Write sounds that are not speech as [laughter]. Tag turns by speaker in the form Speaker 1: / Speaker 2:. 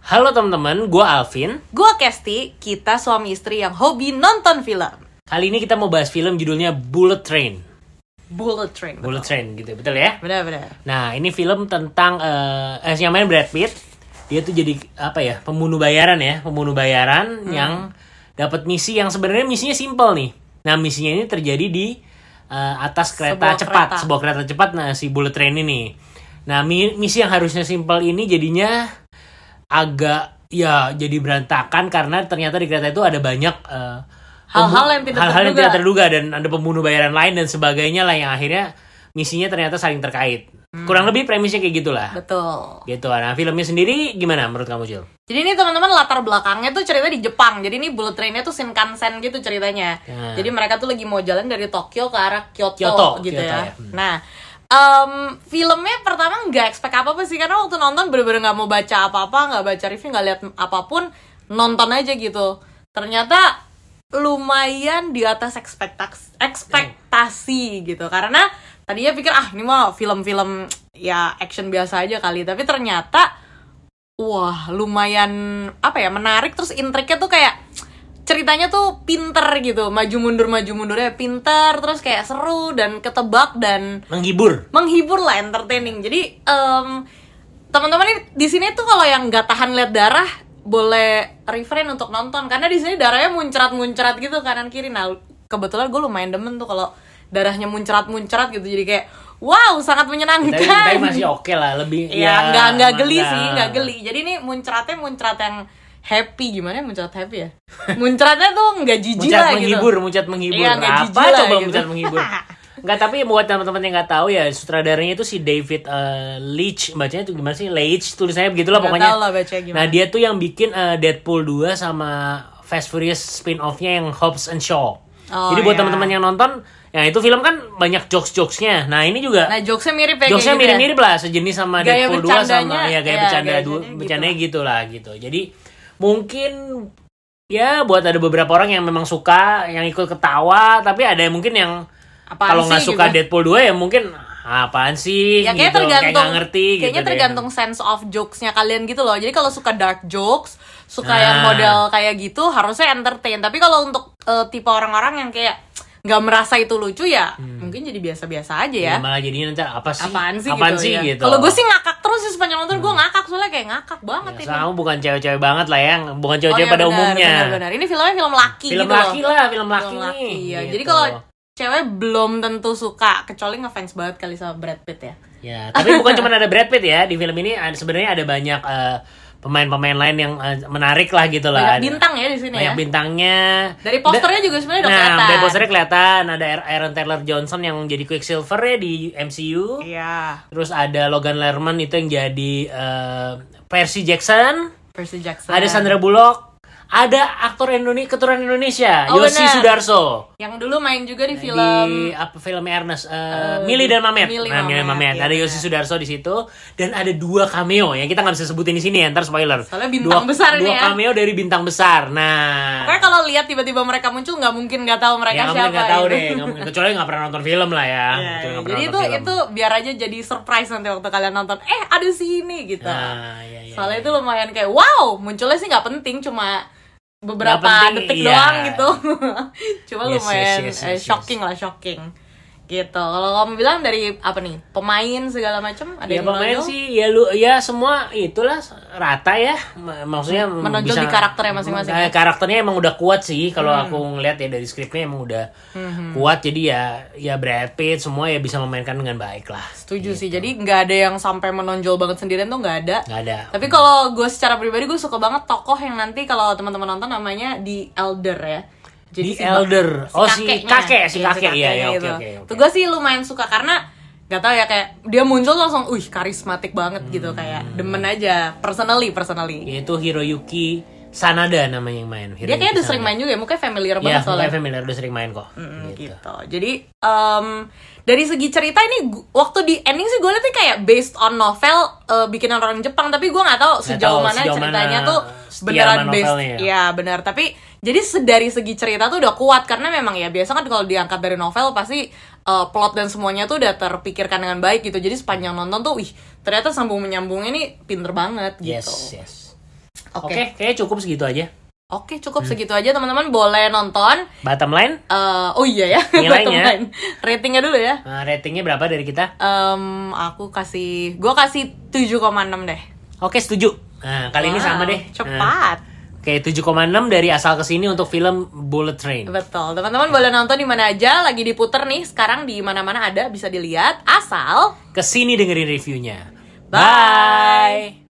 Speaker 1: Halo teman-teman, gue Alvin.
Speaker 2: Gua Kesti, kita suami istri yang hobi nonton film.
Speaker 1: Kali ini kita mau bahas film judulnya Bullet Train.
Speaker 2: Bullet Train. betul.
Speaker 1: Bullet Train gitu, betul ya?
Speaker 2: Benar, benar.
Speaker 1: Nah, ini film tentang eh eh, yang main Brad Pitt. Dia tuh jadi apa ya? Pembunuh bayaran ya, pembunuh bayaran
Speaker 2: Hmm.
Speaker 1: yang dapat misi yang sebenarnya misinya simple nih. Nah, misinya ini terjadi di eh, atas kereta
Speaker 2: Sebuah
Speaker 1: cepat,
Speaker 2: kereta.
Speaker 1: sebuah kereta cepat nah si Bullet Train ini. Nah, mi- misi yang harusnya simple ini jadinya agak ya jadi berantakan karena ternyata di kereta itu ada banyak eh,
Speaker 2: Hal-hal
Speaker 1: pembu-
Speaker 2: yang tidak
Speaker 1: hal-hal yang
Speaker 2: terduga.
Speaker 1: tidak terduga dan ada pembunuh bayaran lain dan sebagainya lah yang akhirnya misinya ternyata saling terkait
Speaker 2: Hmm.
Speaker 1: kurang lebih premisnya kayak gitulah
Speaker 2: Betul.
Speaker 1: gitu nah filmnya sendiri gimana menurut kamu Jul?
Speaker 2: Jadi ini teman-teman latar belakangnya tuh cerita di Jepang. Jadi ini bullet trainnya tuh Shinkansen gitu ceritanya.
Speaker 1: Ya.
Speaker 2: Jadi mereka tuh lagi mau jalan dari Tokyo ke arah Kyoto,
Speaker 1: Kyoto,
Speaker 2: gitu
Speaker 1: Kyoto ya.
Speaker 2: ya.
Speaker 1: Hmm.
Speaker 2: Nah, em, filmnya pertama nggak expect apa-apa sih karena waktu nonton bener-bener nggak mau baca apa-apa, nggak baca review, nggak lihat apapun, nonton aja gitu. Ternyata lumayan di atas ekspektasi, ekspektasi gitu karena tadinya pikir ah ini mah film-film ya action biasa aja kali tapi ternyata wah lumayan apa ya menarik terus intriknya tuh kayak ceritanya tuh pinter gitu maju mundur maju mundurnya pinter terus kayak seru dan ketebak dan
Speaker 1: menghibur
Speaker 2: menghibur lah entertaining jadi em, teman-teman ini- di sini tuh kalau yang nggak tahan lihat darah boleh refrain untuk nonton karena di sini darahnya muncrat muncrat gitu kanan kiri nah kebetulan gue lumayan demen tuh kalau darahnya muncrat muncrat gitu jadi kayak wow sangat menyenangkan
Speaker 1: tapi, tapi masih oke lah lebih ya,
Speaker 2: Iya, nggak nggak geli
Speaker 1: nggak-
Speaker 2: sih, nggak geli. Jadi ini muncratnya muncrat yang happy gimana ya muncrat happy
Speaker 1: [laughs]
Speaker 2: ya? Muncratnya tuh nggak jijik
Speaker 1: Muncat
Speaker 2: lah gitu.
Speaker 1: menghibur, muncat menghibur.
Speaker 2: Iya, nggak jijik
Speaker 1: Apa
Speaker 2: lah
Speaker 1: coba
Speaker 2: gitu.
Speaker 1: muncat
Speaker 2: [laughs]
Speaker 1: menghibur? Enggak, tapi buat teman-teman yang nggak tahu ya sutradaranya itu si David eh, Leitch, bacanya itu gimana sih? Leitch tulisannya begitulah
Speaker 2: Nggak
Speaker 1: pokoknya.
Speaker 2: tahu lah bacanya gimana.
Speaker 1: Nah, dia tuh yang bikin eh, Deadpool 2 sama Fast Furious spin-off-nya yang Hobbs and Shaw.
Speaker 2: Oh,
Speaker 1: Jadi buat
Speaker 2: iya.
Speaker 1: teman-teman yang nonton, ya itu film kan banyak jokes-jokesnya. Nah, ini juga
Speaker 2: Nah, jokesnya mirip ya kayak
Speaker 1: jokesnya
Speaker 2: gitu ya.
Speaker 1: mirip-mirip lah sejenis sama
Speaker 2: Gaya
Speaker 1: Deadpool 2 sama
Speaker 2: bercandanya,
Speaker 1: ya kayak
Speaker 2: ya,
Speaker 1: bercanda
Speaker 2: gaya
Speaker 1: du-
Speaker 2: bercandanya
Speaker 1: bercandanya gitu lah gitu jadi mungkin ya buat ada beberapa orang yang memang suka yang ikut ketawa tapi ada yang mungkin yang
Speaker 2: Apaan
Speaker 1: kalau nggak
Speaker 2: sih
Speaker 1: suka
Speaker 2: gitu?
Speaker 1: Deadpool 2 ya mungkin apaan sih
Speaker 2: Ya
Speaker 1: gitu
Speaker 2: kayaknya tergantung,
Speaker 1: kayak nggak ngerti
Speaker 2: kayaknya
Speaker 1: gitu deh.
Speaker 2: tergantung sense of jokesnya kalian gitu loh. Jadi kalau suka dark jokes, suka yang
Speaker 1: Nah.
Speaker 2: model kayak gitu harusnya entertain. Tapi kalau untuk eh, tipe orang-orang yang kayak nggak merasa itu lucu ya,
Speaker 1: Hmm.
Speaker 2: mungkin jadi biasa-biasa aja ya.
Speaker 1: Ya, malah jadinya nanti apa sih
Speaker 2: Apaan sih gitu, ya.
Speaker 1: gitu. Hmm.
Speaker 2: Kalau gue sih ngakak terus sih sepanjang nonton gue ngakak soalnya kayak ngakak banget ini.
Speaker 1: sama bukan cewek-cewek banget lah ya bukan
Speaker 2: Oh,
Speaker 1: cewek-cewek
Speaker 2: iya,
Speaker 1: pada
Speaker 2: benar,
Speaker 1: umumnya
Speaker 2: benar, benar. Ini filmnya film laki
Speaker 1: film
Speaker 2: gitu
Speaker 1: laki
Speaker 2: loh.
Speaker 1: lah film laki,
Speaker 2: Film
Speaker 1: nih
Speaker 2: laki. Iya. Jadi
Speaker 1: gitu.
Speaker 2: kalau cewek belum tentu suka, kecuali ngefans banget kali sama Brad Pitt ya.
Speaker 1: Ya, tapi
Speaker 2: [laughs]
Speaker 1: bukan cuma ada Brad Pitt ya di film ini ada- sebenarnya ada banyak eh, pemain-pemain lain yang eh, menarik lah gitu lah.
Speaker 2: Banyak bintang ya di sini
Speaker 1: Banyak
Speaker 2: ya.
Speaker 1: bintangnya.
Speaker 2: Dari posternya juga sebenarnya udah
Speaker 1: nah,
Speaker 2: kelihatan.
Speaker 1: dari posternya kelihatan ada Er-, Aaron Taylor Johnson yang jadi Quicksilver ya di MCU.
Speaker 2: Iya.
Speaker 1: Terus ada Logan Lerman itu yang jadi eh, Percy Jackson.
Speaker 2: Percy Jackson.
Speaker 1: Ada Sandra Bullock. Ada aktor Indonesia keturunan Indonesia,
Speaker 2: Oh,
Speaker 1: Yosi
Speaker 2: benar.
Speaker 1: Sudarso
Speaker 2: yang dulu main juga
Speaker 1: di
Speaker 2: di film
Speaker 1: apa filmnya Ernest eh, Mili dan Mamet.
Speaker 2: Mili
Speaker 1: nah, Mili dan Mamet.
Speaker 2: Mamet, iya,
Speaker 1: ada Yosi
Speaker 2: benar.
Speaker 1: Sudarso di situ dan ada dua cameo yang kita nggak bisa sebutin di sini ya, ntar spoiler.
Speaker 2: Soalnya bintang
Speaker 1: dua,
Speaker 2: besar
Speaker 1: dua
Speaker 2: ini ya.
Speaker 1: cameo dari bintang besar. Nah,
Speaker 2: Pokoknya kalau lihat tiba-tiba mereka muncul nggak mungkin nggak tahu mereka
Speaker 1: ya kamu
Speaker 2: siapa.
Speaker 1: nggak tahu
Speaker 2: gitu. [laughs]
Speaker 1: deh, nggak mungkin kecuali nggak pernah nonton film lah ya.
Speaker 2: Iya,
Speaker 1: Kecuali
Speaker 2: iya.
Speaker 1: nggak pernah
Speaker 2: Jadi itu
Speaker 1: nonton film.
Speaker 2: itu biar aja jadi surprise nanti waktu kalian nonton. Eh, ada si ini gitu.
Speaker 1: Nah, iya, iya, iya.
Speaker 2: Soalnya itu lumayan kayak wow, munculnya sih nggak penting cuma beberapa
Speaker 1: Nggak penting,
Speaker 2: detik
Speaker 1: iya.
Speaker 2: doang gitu. [laughs] cuma
Speaker 1: Yes, yes,
Speaker 2: lumayan
Speaker 1: yes, yes,
Speaker 2: eh,
Speaker 1: yes.
Speaker 2: shocking lah, shocking. Gitu. Kalau kamu bilang dari apa nih? Pemain segala macam ada
Speaker 1: Ya
Speaker 2: yang
Speaker 1: pemain
Speaker 2: menonjol?
Speaker 1: sih ya lu ya semua itulah rata ya M- maksudnya
Speaker 2: Hmm, Menonjol di karakternya masing-masing
Speaker 1: Eh,
Speaker 2: ya? Hmm.
Speaker 1: karakternya emang udah kuat sih kalau aku ngeliat ya dari skripnya emang udah kuat jadi ya ya Brad Pitt semua ya bisa memainkan dengan baik lah
Speaker 2: Setuju sih.
Speaker 1: Gitu.
Speaker 2: Jadi nggak ada yang sampai menonjol banget sendirian tuh nggak ada.
Speaker 1: nggak ada
Speaker 2: Tapi kalau gue secara pribadi gue suka banget tokoh yang nanti kalau teman-teman nonton namanya di elder ya.
Speaker 1: Di elder. Oh, si kakek, si kakek.
Speaker 2: Iya,
Speaker 1: Iya,
Speaker 2: kakeknya
Speaker 1: iya, oke,
Speaker 2: gitu.
Speaker 1: oke, oke.
Speaker 2: Tuh gue sih lumayan suka karena nggak tahu ya kayak dia muncul langsung, uh karismatik banget gitu kayak
Speaker 1: Hmm.
Speaker 2: demen aja personally personally.
Speaker 1: yaitu Hiroyuki Sanada namanya yang main
Speaker 2: Dia kayaknya
Speaker 1: Hiroyuki
Speaker 2: udah sering
Speaker 1: Sanada.
Speaker 2: main juga ya, mukanya familiar
Speaker 1: ya
Speaker 2: banget soalnya.
Speaker 1: mukanya familiar udah sering main kok
Speaker 2: Mm,
Speaker 1: gitu.
Speaker 2: gitu. Jadi em, dari segi cerita ini gu- waktu di ending sih gue liatnya kayak based on novel eh, bikinan orang Jepang tapi gue nggak tahu
Speaker 1: tahu
Speaker 2: sejauh mana
Speaker 1: sejauh
Speaker 2: ceritanya
Speaker 1: mana
Speaker 2: tuh
Speaker 1: setia
Speaker 2: beneran
Speaker 1: sama
Speaker 2: based.
Speaker 1: novelnya ya.
Speaker 2: Ya benar. Tapi jadi se- dari segi cerita tuh udah kuat karena memang ya biasa kan kalau diangkat dari novel pasti eh, plot dan semuanya tuh udah terpikirkan dengan baik gitu. Jadi sepanjang nonton tuh, ih ternyata sambung menyambung ini pinter banget gitu.
Speaker 1: yes yes Oke, Hmm.
Speaker 2: Oke.
Speaker 1: kayaknya cukup segitu aja.
Speaker 2: Oke, cukup segitu aja teman-teman. Boleh nonton.
Speaker 1: Bottom line,
Speaker 2: Eh, oh iya ya, [laughs]
Speaker 1: Nilainya.
Speaker 2: bottom line. Ratingnya dulu ya.
Speaker 1: eh, ratingnya berapa dari kita?
Speaker 2: Em, aku kasih, gue kasih 7,6 deh.
Speaker 1: Oke, setuju. Nah, kali ini
Speaker 2: Wow,
Speaker 1: sama deh. Nah,
Speaker 2: Cepat.
Speaker 1: Oke, 7,6 dari asal kesini untuk film Bullet Train.
Speaker 2: Eh, Betul. Teman-teman boleh nonton di mana aja, lagi diputer nih sekarang di mana-mana ada bisa dilihat asal
Speaker 1: Kesini dengerin reviewnya.
Speaker 2: Bye.
Speaker 1: Bye.